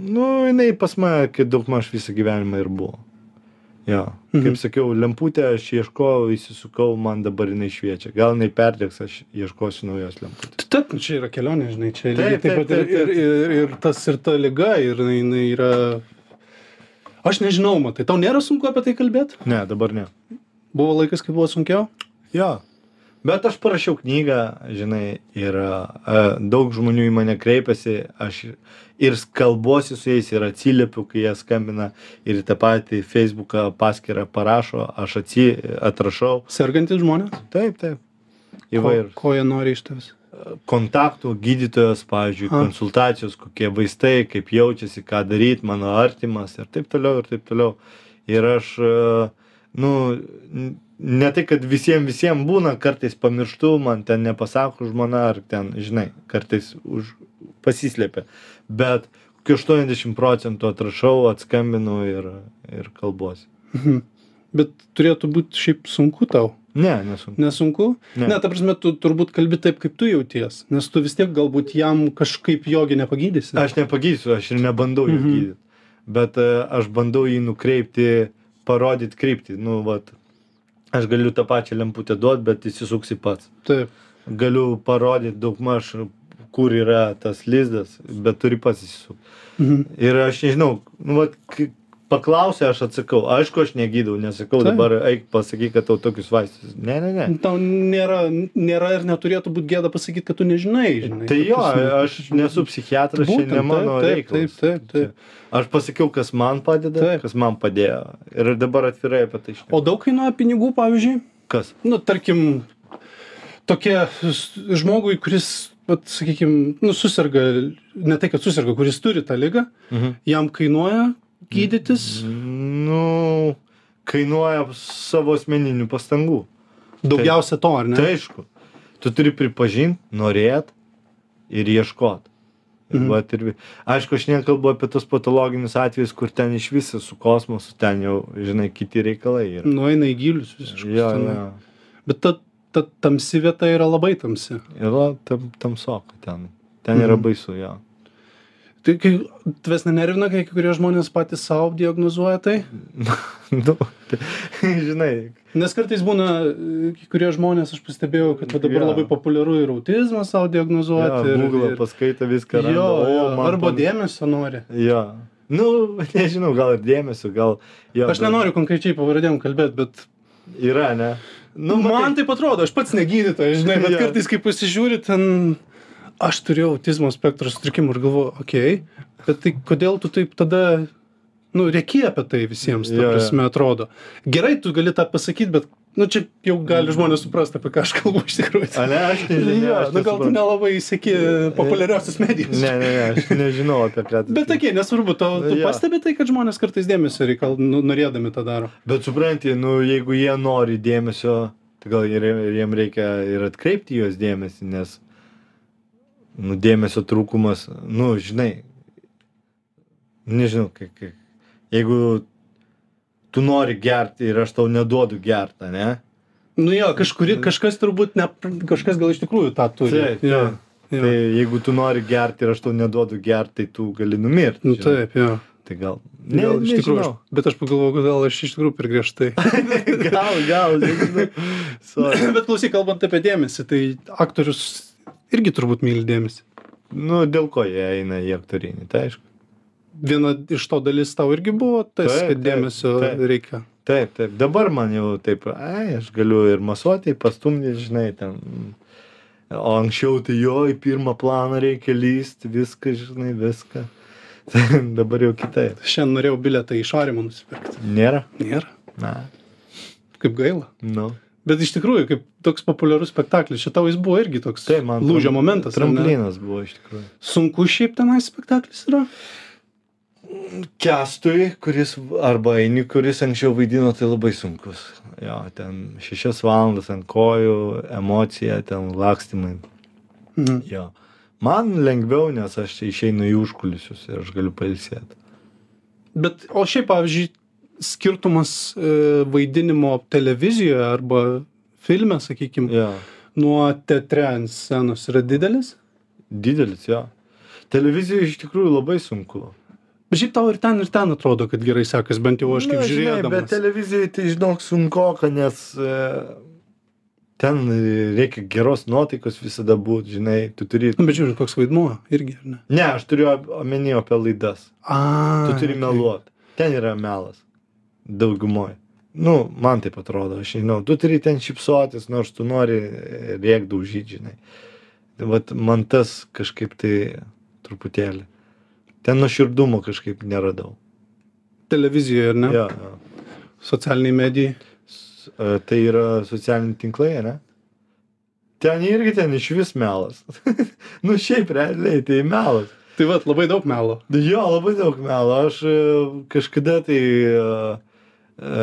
Speaker 2: Nu, jinai pas mane, kai daug maž visą gyvenimą ir buvo. Jo. Mhm.
Speaker 1: Mhm.
Speaker 2: Kaip sakiau, lemputę aš ieškojau, įsisukau, man dabar jinai šviečia. Gal jinai perdėks, aš ieškosiu naujos lemputės.
Speaker 1: Tu- Taip, nu, čia yra kelionė, žinai, čia
Speaker 2: Taip,
Speaker 1: lygiai taip
Speaker 2: taip,
Speaker 1: pat ir,
Speaker 2: taip,
Speaker 1: ir, ir, ir tas ir ta lyga, ir jinai- jinai yra... Aš nežinau, matai, tau nėra sunku apie tai kalbėti?
Speaker 2: Ne, dabar ne.
Speaker 1: Buvo laikas, kai buvo sunkiau?
Speaker 2: Jo. Bet aš parašiau knygą, žinai, ir a, daug žmonių į mane kreipiasi, aš ir kalbuosi su jais, ir atsiliepiu, kai jie skambina, ir į tą patį Facebooką paskirą parašo, aš atsi, atrašau.
Speaker 1: Sergantis žmonės?
Speaker 2: Taip, taip.
Speaker 1: Ko,
Speaker 2: Įvairūs.
Speaker 1: ko jie nori iš tavęs?
Speaker 2: kontaktų gydytojas, pavyzdžiui,
Speaker 1: A.
Speaker 2: konsultacijos, kokie vaistai, kaip jaučiasi, ką daryti mano artimas ir taip toliau, ir taip toliau. Ir aš, e, nu, n- ne tai, kad visiems visiems būna, kartais pamirštu, man ten nepasako žmona, ar ten, žinai, kartais už, pasislėpia. Bet kokiu 80 procentų atrašau, atskambinu ir, ir kalbuosi.
Speaker 1: Mhm. Bet turėtų būti šiaip sunku tau.
Speaker 2: Ne, nesunku.
Speaker 1: Nesunku?
Speaker 2: Ne.
Speaker 1: Ne, ta prasme, tu turbūt kalbi taip, kaip tu jauties, nes tu vis tiek galbūt jam kažkaip jogi nepagydysi.
Speaker 2: Aš nepagysiu, aš ir nebandau jų
Speaker 1: Mhm.
Speaker 2: gydyti. Bet e, aš bandau jį nukreipti, parodyti kryptį. Nu, vat, aš galiu tą pačią lemputę duoti, bet įsisuksi pats.
Speaker 1: Taip.
Speaker 2: Galiu parodyti daugmaž, kur yra tas lizdas, bet turi pats įsisukti.
Speaker 1: Mhm.
Speaker 2: Ir aš nežinau, nu, vat, kai- paklausė, aš atsakau. Aišku, aš negydau, nesakau
Speaker 1: Taip.
Speaker 2: dabar, eik pasakyk, kad tau tokius vaistus. Ne, ne, ne.
Speaker 1: Tau nėra, nėra ir neturėtų būti gėda pasakyti, kad tu nežinai. žinai.
Speaker 2: Tai
Speaker 1: Ta
Speaker 2: jo,
Speaker 1: prasme,
Speaker 2: aš nesu psichiatras, čia
Speaker 1: Būtent,
Speaker 2: ne mano
Speaker 1: taip, taip,
Speaker 2: reikalas.
Speaker 1: taip, taip,
Speaker 2: Aš pasakiau, kas man padeda,
Speaker 1: Taip.
Speaker 2: taip. kas man padėjo. Ir dabar atvirai apie tai
Speaker 1: O
Speaker 2: šneku.
Speaker 1: daug kainuoja pinigų, pavyzdžiui?
Speaker 2: Kas?
Speaker 1: nu, tarkim, tokia s- žmogui, kuris, vat, sakykime, nu, susirga, ne tai, kad susirga, kuris turi tą lygą,
Speaker 2: Mhm.
Speaker 1: jam kainuoja gydytis
Speaker 2: Nu, kainuoja savo asmeninių pastangų. Mhm.
Speaker 1: daugiausia to, ar ne?
Speaker 2: Tai aišku, tu turi pripažinti, norėt ir ieškot.
Speaker 1: Mhm.
Speaker 2: Mhm. Vat ir, vi- aišku, aš nekalbu apie tos patologinius atvejus, kur ten iš viso su kosmosu, ten jau, žinai, kiti reikalai. Ir...
Speaker 1: Nueina į gilius visiškai.
Speaker 2: Jo,
Speaker 1: tenai.
Speaker 2: jo.
Speaker 1: Bet ta, ta tamsi vieta yra labai tamsi.
Speaker 2: Yra tam, tamsoka ten. Ten yra
Speaker 1: Mhm.
Speaker 2: baisu, jo.
Speaker 1: Tai kai tavęs nenervina, kai kai kurie žmonės patys savo diagnozuoja tai.
Speaker 2: Nu, tai, žinai,
Speaker 1: Nes kartais būna, e, kai kurie žmonės, aš pastebėjau, kad va dabar
Speaker 2: Jo.
Speaker 1: labai populiaru ir autizmą savo
Speaker 2: jo,
Speaker 1: diagnozuoti. ir-
Speaker 2: Google
Speaker 1: ir-
Speaker 2: paskaito
Speaker 1: Jo,
Speaker 2: viską. randa,
Speaker 1: jo,
Speaker 2: o, man
Speaker 1: arba
Speaker 2: pam-
Speaker 1: dėmesio nori.
Speaker 2: Jo. Nu, nežinau, gal ir dėmesio, gal... Jo,
Speaker 1: Aš
Speaker 2: bet
Speaker 1: nenoriu konkrečiai pavardėm kalbėti, bet
Speaker 2: Yra, ne?
Speaker 1: nu, man tai atrodo, aš pats negydytojas, žinai, bet
Speaker 2: Jo.
Speaker 1: kartais, kai pasižiūri, ten aš turėjau autizmo spektro sutrikimų ir galvoju, okei, okay, bet tai kodėl tu taip tada, nu, reikia apie tai visiems,
Speaker 2: Jo,
Speaker 1: ta
Speaker 2: jo.
Speaker 1: prasme, atrodo. Gerai, tu gali tą pasakyti, bet, nu, čia jau gali žmonės suprasti, apie ką aš kalbu iš tikrųjų.
Speaker 2: A, ne, aš nežinau.
Speaker 1: Jo, nu,
Speaker 2: aš
Speaker 1: gal tu
Speaker 2: nesuprantu.
Speaker 1: nelabai įsiki populiariausias medijas.
Speaker 2: Ne, ne, ne, aš nežinau apie ką. tu-
Speaker 1: Bet tai tokie, nesvarbu, tu, tu
Speaker 2: Jo.
Speaker 1: pastebi tai, kad žmonės kartais dėmesio reikal, nu, norėdami tą daro.
Speaker 2: Bet supranti, nu, jeigu jie nori dėmesio, tai gal ir, ir jiem reikia ir atkreipti jos dėmesį, nes, nu, dėmesio trūkumas, nu, žinai, nežinau, kaip, kaip. Jeigu tu nori gerti ir aš tau neduodu gertą, ne?
Speaker 1: Nu jo, kažkuri, kažkas turbūt, ne, kažkas gal iš tikrųjų tą turi.
Speaker 2: Taip,
Speaker 1: jo,
Speaker 2: taip.
Speaker 1: jo.
Speaker 2: Tai jeigu tu nori gerti ir aš tau neduodu gerti, tai tu gali numirti.
Speaker 1: nu,
Speaker 2: žinai.
Speaker 1: taip, jo.
Speaker 2: Tai gal. Ne,
Speaker 1: Gal, iš tikrųjų, aš,
Speaker 2: nežinau.
Speaker 1: bet aš pagalvojau, kodėl aš iš tikrųjų per griežtai.
Speaker 2: gal, gal, nežinau. Sorry.
Speaker 1: bet klausyk, kalbant apie dėmesį, tai aktorius irgi turbūt myli dėmesį.
Speaker 2: Nu, dėl ko jie eina į aktorinį, tai aišku.
Speaker 1: Viena iš to dalis tau irgi buvo tas,
Speaker 2: Taip,
Speaker 1: kad
Speaker 2: taip,
Speaker 1: dėmesio
Speaker 2: taip.
Speaker 1: reikia.
Speaker 2: Taip, taip. Dabar man jau taip, ai, aš galiu ir masuoti, pastumti, žinai, ten. O anksčiau tai jo, į pirmą planą reikia lysti, viską, žinai, viską. Dabar jau kitaip.
Speaker 1: Šiandien norėjau biletą į Šarimą nusipirkti.
Speaker 2: Nėra?
Speaker 1: Nėra.
Speaker 2: Na,
Speaker 1: Kaip gaila.
Speaker 2: nu.
Speaker 1: Bet iš tikrųjų, kaip toks populiarus spektaklis, šitau jis buvo irgi toks
Speaker 2: Tai man.
Speaker 1: lūžio
Speaker 2: tram-
Speaker 1: momentas. ar ne?
Speaker 2: Tramplinas buvo iš tikrųjų.
Speaker 1: Sunku šiaip tenai spektaklis yra.
Speaker 2: Kestui, kuris arba eini, kuris anksčiau vaidino, tai labai sunkus. Jo, ten šešias valandas ant kojų, emocija, ten lakstimai.
Speaker 1: Mhm.
Speaker 2: Jo. Man lengviau, nes aš išeinu į užkulisius ir aš galiu pailsėti.
Speaker 1: Bet, o šiaip, pavyzdžiui, skirtumas e, vaidinimo televizijoje arba filme, sakykime,
Speaker 2: Jo.
Speaker 1: nuo teatre ant scenos yra didelis.
Speaker 2: Didelis, jo. Televizijoje iš tikrųjų labai sunku.
Speaker 1: Bet šiaip tau ir ten, ir ten atrodo, kad gerai sekas, bent jau aš kaip
Speaker 2: Na, Nu, žinai, Bet
Speaker 1: žiūrėdamas.
Speaker 2: televizijoje tai žinok sunku, nes e, ten reikia geros nuotaikos visada būti, žinai, tu turi...
Speaker 1: Nu, bet žiūrėk, koks vaidmuo irgi, ar ne?
Speaker 2: Ne, aš turiu omeny apie laidas.
Speaker 1: A, tai
Speaker 2: Tu turi
Speaker 1: okei.
Speaker 2: meluoti. Ten yra melas. Daugumoje. Nu, man taip atrodo, aš žinau, tu turi ten šipsuotis, nors tu nori rėkdų žydžinai. Tai Vat man tas kažkaip tai truputėlį. Ten nuoširdumo kažkaip neradau.
Speaker 1: Televizijoje, ar ne?
Speaker 2: Jo, jo.
Speaker 1: Socialiniai medijai.
Speaker 2: S- e, Tai yra socialiniai tinklai, ne? Ten irgi ten iš vis melas. nu, šiaip realiai tai melas.
Speaker 1: Tai vad, labai daug melo.
Speaker 2: Nu Jo, labai daug melo. Aš e, kažkada tai e, e,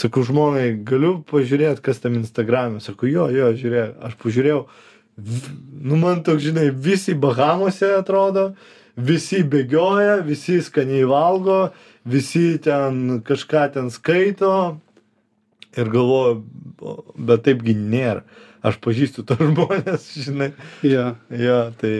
Speaker 2: sakau žmonai, galiu pažiūrėti, kas tam Instagram'e. Sakau, jo, jo, žiūrėk, aš pažiūrėjau. v- Nu, man toks, žinai, visi Bahamose atrodo, visi bėgioja, visi skaniai valgo, visi ten kažką ten skaito. Ir galvoju, o, bet taipgi nėra. Aš pažįstu tos žmonės, žinai.
Speaker 1: Yeah.
Speaker 2: Jo, tai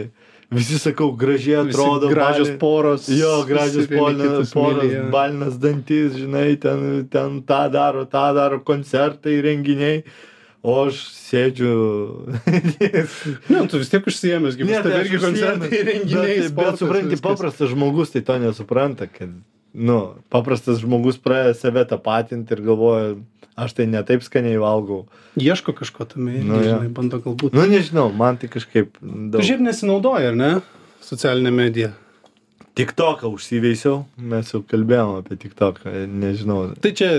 Speaker 2: visi sakau, gražiai atrodo.
Speaker 1: gražios
Speaker 2: bali-
Speaker 1: poros.
Speaker 2: Jo, gražios
Speaker 1: visi vieni
Speaker 2: polnas,
Speaker 1: kitus myli, jo.
Speaker 2: polnas balinas dantis, žinai, ten, ten tą daro, tą daro, koncertai, renginiai. O aš sėdžiu.
Speaker 1: Ne, tu vis tiek užsiemęs, kaip
Speaker 2: Ne,
Speaker 1: tai
Speaker 2: tai aš tai,
Speaker 1: irgi
Speaker 2: užsiėmęs.
Speaker 1: koncertai, renginiai.
Speaker 2: Bet, bet supranti, paprastas žmogus tai to tai nesupranta, kad nu, paprastas žmogus pradeda save tapatinti ir galvoja, aš tai ne taip skaniai valgau.
Speaker 1: Ieško kažko tame, irgi,
Speaker 2: Nu, jo.
Speaker 1: žinai, bando galbūt.
Speaker 2: Nu, nežinau, man tai kažkaip...
Speaker 1: Tu
Speaker 2: daug-
Speaker 1: šiaip nesinaudoji, ar ne? Socialinė medija.
Speaker 2: Tik toką užsiveisiau, mes jau kalbėjom apie tik toką, nežinau.
Speaker 1: Tai čia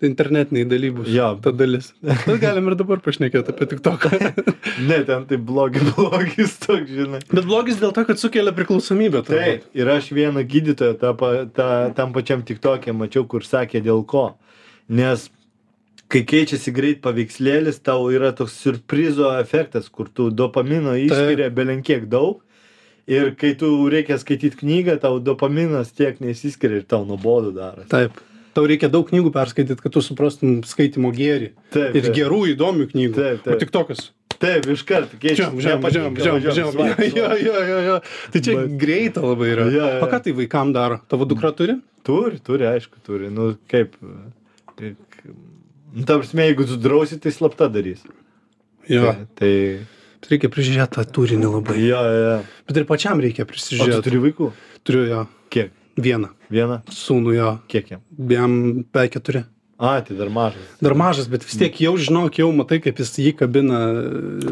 Speaker 1: internetiniai dalybus.
Speaker 2: Jo.
Speaker 1: Ta dalis. Bet galim ir dabar pašnekėti apie tik toką.
Speaker 2: Ne, ten tai blogi, blogis toks, žinai.
Speaker 1: Bet blogis dėl to, kad sukelia priklausomybę. turbūt.
Speaker 2: Taip, ir aš vieną gydytoją tą, pa- tą, tam pačiam tik tokiam mačiau, kur sakė dėl ko. Nes kai keičiasi greit paveikslėlis, tau yra toks surprizo efektas, kur tu dopamino išskiria belenkiek daug. Ir kai tu reikia skaityti knygą, tau dopaminas tiek nesiskiria ir tau nuobodu daro.
Speaker 1: Taip. Tau reikia daug knygų perskaityti, kad tu suprastum skaitimo gėrį.
Speaker 2: Taip,
Speaker 1: Ir gerų, įdomių knygų.
Speaker 2: Taip, taip.
Speaker 1: O tik tokias.
Speaker 2: Taip, iš karto
Speaker 1: Žiūrėjom,
Speaker 2: keičiasi.
Speaker 1: žiūrėjom,
Speaker 2: Nepatinka,
Speaker 1: žiūrėjom, žiūrėjom,
Speaker 2: važiuojam,
Speaker 1: žiūrėjom. Jo,
Speaker 2: važiuojam.
Speaker 1: jo, jo, jo. Tai čia
Speaker 2: Bet-
Speaker 1: greita labai yra.
Speaker 2: Jo, jo,
Speaker 1: O ką
Speaker 2: jo.
Speaker 1: tai vaikam daro? Tavo dukra turi?
Speaker 2: Turi, turi, aišku, turi. Nu, kaip. tik- Nu, tam prasme, jeigu tu drausi, tai slapta darys.
Speaker 1: Jo. Tai
Speaker 2: Tai.
Speaker 1: Reikia prižiūrėti tą turinį labai.
Speaker 2: Jo, jo.
Speaker 1: Bet ir pačiam reikia
Speaker 2: jo. O tu
Speaker 1: prisižiūrėti.
Speaker 2: turi vaikų?
Speaker 1: Turiu jo
Speaker 2: Kiek?
Speaker 1: vieną.
Speaker 2: Vieną?
Speaker 1: Sūnų jo.
Speaker 2: Kiek jam?
Speaker 1: Jam be keturi.
Speaker 2: A, tai dar mažas.
Speaker 1: Dar mažas, bet vis tiek jau žinok, jau matai, kaip jis jį kabina.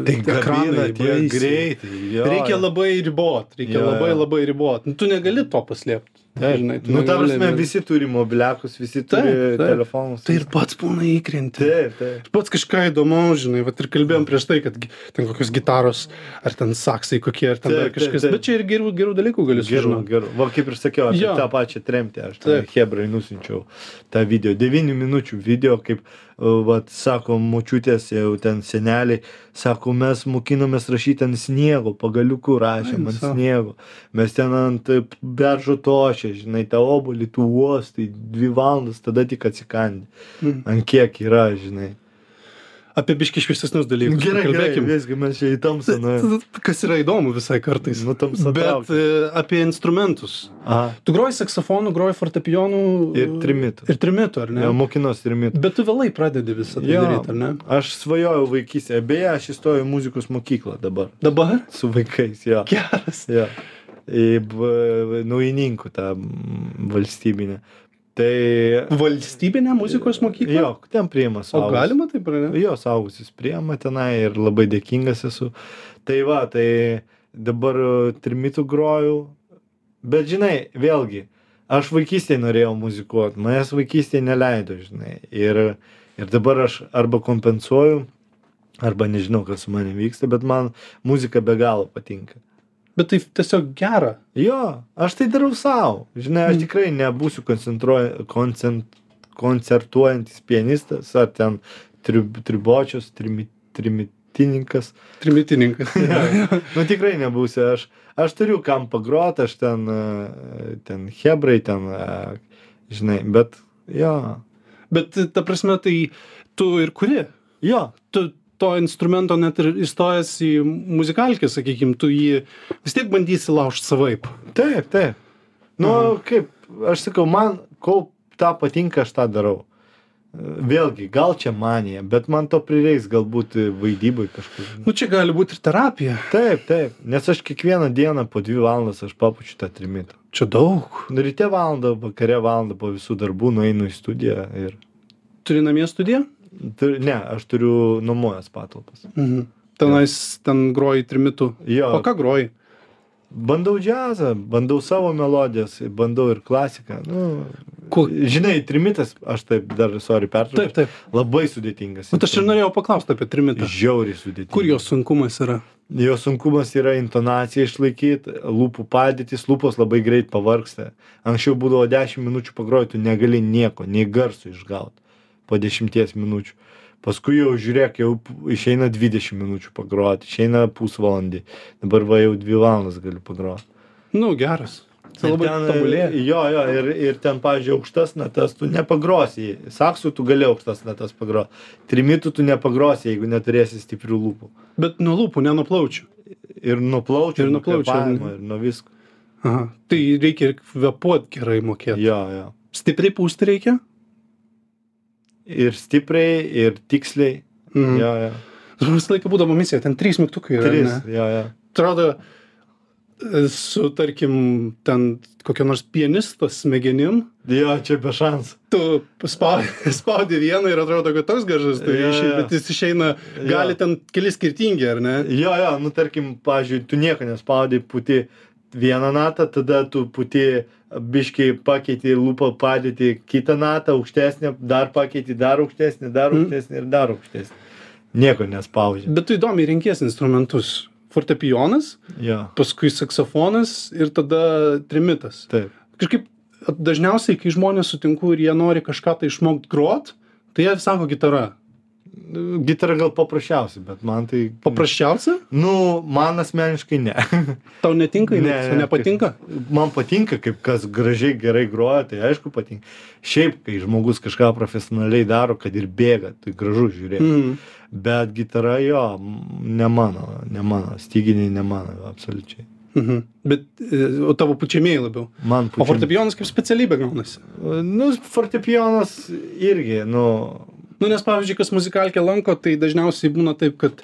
Speaker 2: Tai
Speaker 1: ekranai
Speaker 2: kabina tiek
Speaker 1: baisiai.
Speaker 2: greitai. Jo,
Speaker 1: Reikia
Speaker 2: jo.
Speaker 1: labai ribot, reikia
Speaker 2: Jo, jo.
Speaker 1: labai labai ribot. Nu, tu negali to paslėpti.
Speaker 2: Taip,
Speaker 1: žinai, tu
Speaker 2: nu, tam
Speaker 1: negali-
Speaker 2: prasme, visi turi mobiliakus, visi
Speaker 1: Taip,
Speaker 2: turi
Speaker 1: taip.
Speaker 2: telefonus.
Speaker 1: Tai ir pats būna įkrenti.
Speaker 2: Taip, taip.
Speaker 1: Pats kažką įdomaus, žinai, vat ir
Speaker 2: Mm.
Speaker 1: kalbėjom prieš tai, kad gi- ten kokios gitaros, ar ten saksai kokie, ar ten
Speaker 2: Taip,
Speaker 1: dar kažkas.
Speaker 2: taip, taip.
Speaker 1: Bet čia ir gerų, gerų dalykų gali
Speaker 2: Tai, Gerų,
Speaker 1: sužinoti.
Speaker 2: gerų. Va, kaip ir sakiau, aš
Speaker 1: Jo.
Speaker 2: tą pačią tremtį, aš tai
Speaker 1: Taip.
Speaker 2: Hebrai nusinčiau tą video, 9 minučių video, kaip, uh, vat, sako, močiutės e, jau ten seneliai, sako, mes mokinomės rašyti ant sniego, pagaliukų rašėm
Speaker 1: Ai,
Speaker 2: ant
Speaker 1: sau.
Speaker 2: sniego, mes ten ant e, beržo tošė, žinai, tą obolį, tu uostai, dvi valandas, tada tik atsikandi,
Speaker 1: Mm.
Speaker 2: ant kiek yra, žinai.
Speaker 1: Apie biški šviesesnius dalykus. pakalbėkim.
Speaker 2: Nu, visgi mes čia į tamsą, nu,
Speaker 1: Kas yra įdomu visai kartais.
Speaker 2: nu tamsą.
Speaker 1: Bet
Speaker 2: traukia.
Speaker 1: e, apie instrumentus.
Speaker 2: Aha.
Speaker 1: Tu groji saksofonu, groji fortepijonu.
Speaker 2: Ir trimitu.
Speaker 1: Ir trimitu, ar ne?
Speaker 2: Jo, mokinos ir mitų.
Speaker 1: Bet tu vėlai pradedi visą tai
Speaker 2: Jo.
Speaker 1: daryti, ar ne?
Speaker 2: Aš svajojau vaikystėje, beje, aš įstojau į muzikos mokyklą dabar
Speaker 1: Dabar?
Speaker 2: su vaikais, jo.
Speaker 1: Geras.
Speaker 2: jo. Į b- naujininkų tą mm, valstybinę. Tai...
Speaker 1: Valstybinė muzikos mokykla.
Speaker 2: Jo, ten priima
Speaker 1: O
Speaker 2: suaugusius.
Speaker 1: galima taip, ar ne?
Speaker 2: Jo, saugusius priima tenai ir labai dėkingas esu. Tai va, tai dabar e, trimitų grojau. Bet žinai, vėlgi, aš vaikystėje norėjau muzikuoti, manęs vaikystėje neleido, žinai. Ir, ir dabar aš arba kompensuoju, arba nežinau, kas su manim vyksta, bet man muzika be galo patinka.
Speaker 1: Bet tai tiesiog gera.
Speaker 2: Jo, aš tai darau savo. Žinai, aš
Speaker 1: Mm.
Speaker 2: tikrai nebūsiu koncentruo- koncent, koncertuojantis pianistas ar ten trib, tribočius, trimi, trimitininkas.
Speaker 1: Trimitininkas.
Speaker 2: Nu tikrai nebūsiu. Aš, aš turiu kam pagrot, aš ten, e, ten hebrai, ten, e, žinai, bet jo.
Speaker 1: Bet ta prasme, tai tu ir kuri.
Speaker 2: Jo,
Speaker 1: Tu to instrumento net ir įstojęs į muzikalkę, sakykim, tu jį vis tiek bandysi laužti savaip.
Speaker 2: taip, taip. Nu
Speaker 1: Mhm.
Speaker 2: kaip, aš sakau, man, kol tą patinka, aš tą darau. E, Vėlgi, gal čia manija, bet man to prireiks galbūt e, vaidybai kažkur.
Speaker 1: Nu, čia gali būti ir terapija.
Speaker 2: Taip, taip, nes aš kiekvieną dieną po dvi valandas aš papučiu tą trimitą.
Speaker 1: Čia daug.
Speaker 2: Nu, Ryte valandą, vakare valandą po visų darbų nueinu į studiją ir...
Speaker 1: Turi namie studiją?
Speaker 2: Turiu- Ne, aš turiu nuomojęs patalpas.
Speaker 1: Mhm. Tenais, ten groji trimitu.
Speaker 2: Jo,
Speaker 1: O ką groji?
Speaker 2: bandau džiazą, bandau savo melodijas, bandau ir klasiką. Nu,
Speaker 1: Ko-
Speaker 2: Žinai, trimitas, aš taip dar, sorry,
Speaker 1: Taip,
Speaker 2: pertraukiau.
Speaker 1: taip.
Speaker 2: Labai sudėtingas.
Speaker 1: Bet aš ir norėjau paklausti apie trimitą.
Speaker 2: Žiauriai sudėtingas.
Speaker 1: Kur jo sunkumas yra?
Speaker 2: Jo sunkumas yra intonacija išlaikyti, lūpų padėtis, lūpos labai greit pavarksta. Anksčiau būdavo 10 minučių pagroti, tu negali nieko, nei garso išgauti po 10 minučių. Paskui jau žiūrėk, jau p- išeina 20 minučių pagroti, išeina pusvalandį. Dabar va jau 2 valandas galiu pagroti.
Speaker 1: Nu, geras. Tai labai
Speaker 2: Ir ten, e,
Speaker 1: tobulėja.
Speaker 2: Jo, jo, ir, ir ten, pavyzdžiui, aukštas natas tu nepagrosi. Saksų tu gali aukštas natas pagroti. Trimitų tu nepagrosi, jeigu neturėsi stiprių lūpų.
Speaker 1: Bet nuo lūpų, ne nuo plaučių.
Speaker 2: Ir nuo plaučių,
Speaker 1: Ir nuo plaučių, ar ne?
Speaker 2: kvėpavimo, ir nuo visko.
Speaker 1: Aha. Tai reikia ir kvepuot gerai mokėti.
Speaker 2: Jo, jo.
Speaker 1: Stipriai pūsti reikia?
Speaker 2: Ir stipriai, ir tiksliai.
Speaker 1: Mhm.
Speaker 2: Mm. Jo, jo.
Speaker 1: Visą laiką būdavo misija, ten trys mygtukai yra.
Speaker 2: Tris.
Speaker 1: ne?
Speaker 2: Jo, jo.
Speaker 1: Atrodo, e, su, tarkim, ten kokio nors pianisto smegenim,
Speaker 2: Jo, čia be šansų.
Speaker 1: tu spaudi, spaudi vieną ir atrodo, kad toks gražus, tai
Speaker 2: Jo,
Speaker 1: yeah,
Speaker 2: jo.
Speaker 1: bet jis išeina, gali
Speaker 2: Jo.
Speaker 1: ten keli skirtingi, ar ne?
Speaker 2: Jo, jo, nu tarkim, pavyzdžiui, tu nieko nespaudai, puti vieną natą, tada tu puti biškai pakeiti lūpą padėti kitą natą, aukštesnę, dar pakeiti dar aukštesnį, dar
Speaker 1: Mm.
Speaker 2: aukštesnį ir dar aukštesnį. Nieko nespaudži.
Speaker 1: Bet tu įdomiai renkies instrumentus. Fortepijonas,
Speaker 2: Jo,
Speaker 1: paskui saksofonas ir tada trimitas.
Speaker 2: taip.
Speaker 1: Kažkaip dažniausiai, kai žmonės sutinku ir jie nori kažką tai išmokti grot, tai jie sako gitara.
Speaker 2: Nu, Gitara gal paprasčiausia, bet man tai...
Speaker 1: Paprasčiausia,
Speaker 2: Nu, man asmeniškai ne.
Speaker 1: tau netinka,
Speaker 2: Ne,
Speaker 1: ne,
Speaker 2: ne,
Speaker 1: nepatinka.
Speaker 2: man patinka, kaip kas gražiai gerai groja, tai aišku patinka. Šiaip, kai žmogus kažką profesionaliai daro, kad ir bėga, tai gražu žiūrėti.
Speaker 1: Mm.
Speaker 2: Bet gitara jo, m, ne mano, ne mano, styginiai ne mano, absoliučiai.
Speaker 1: Mhm. Bet e, o tavo pučiamieji labiau.
Speaker 2: Man
Speaker 1: O
Speaker 2: pučiam-
Speaker 1: fortepijonas kaip specialybė gaunasi.
Speaker 2: Nu, fortepijonas irgi, nu,
Speaker 1: Nu, nes pavyzdžiui, kas muzikalkę lanko, tai dažniausiai būna taip, kad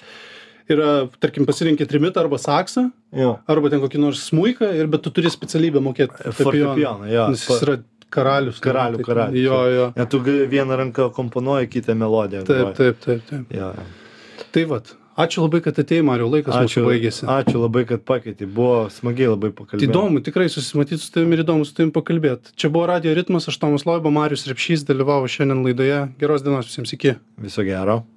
Speaker 1: yra, tarkim, pasirinkė trimitą arba saksą,
Speaker 2: jo.
Speaker 1: arba ten kokį nors smuiką, ir bet tu turi specialybę mokėti
Speaker 2: E, Fortepijoną, jo.
Speaker 1: Nes jis yra karalius. nu,
Speaker 2: Karalių,
Speaker 1: tai-
Speaker 2: karalius,
Speaker 1: Jo, jo.
Speaker 2: Net tu gali- vieną ranką komponuoji, kitą melodiją.
Speaker 1: Taip,
Speaker 2: groji.
Speaker 1: taip, taip, taip.
Speaker 2: Jo, jo.
Speaker 1: Tai vad, ačiū labai, kad atėjai, Mario, laikas mūsų baigėsi.
Speaker 2: ačiū labai, kad pakeitė. Buvo smagiai labai
Speaker 1: Tai
Speaker 2: pakalbėti.
Speaker 1: įdomu, tikrai susimatyti su tavimi ir įdomu su tavimi pakalbėti. Čia buvo Radio Ritmas, aš Tomas Loiba, Marius Repšys dalyvavo šiandien laidoje. Geros dienos visiems iki.
Speaker 2: Viso gero.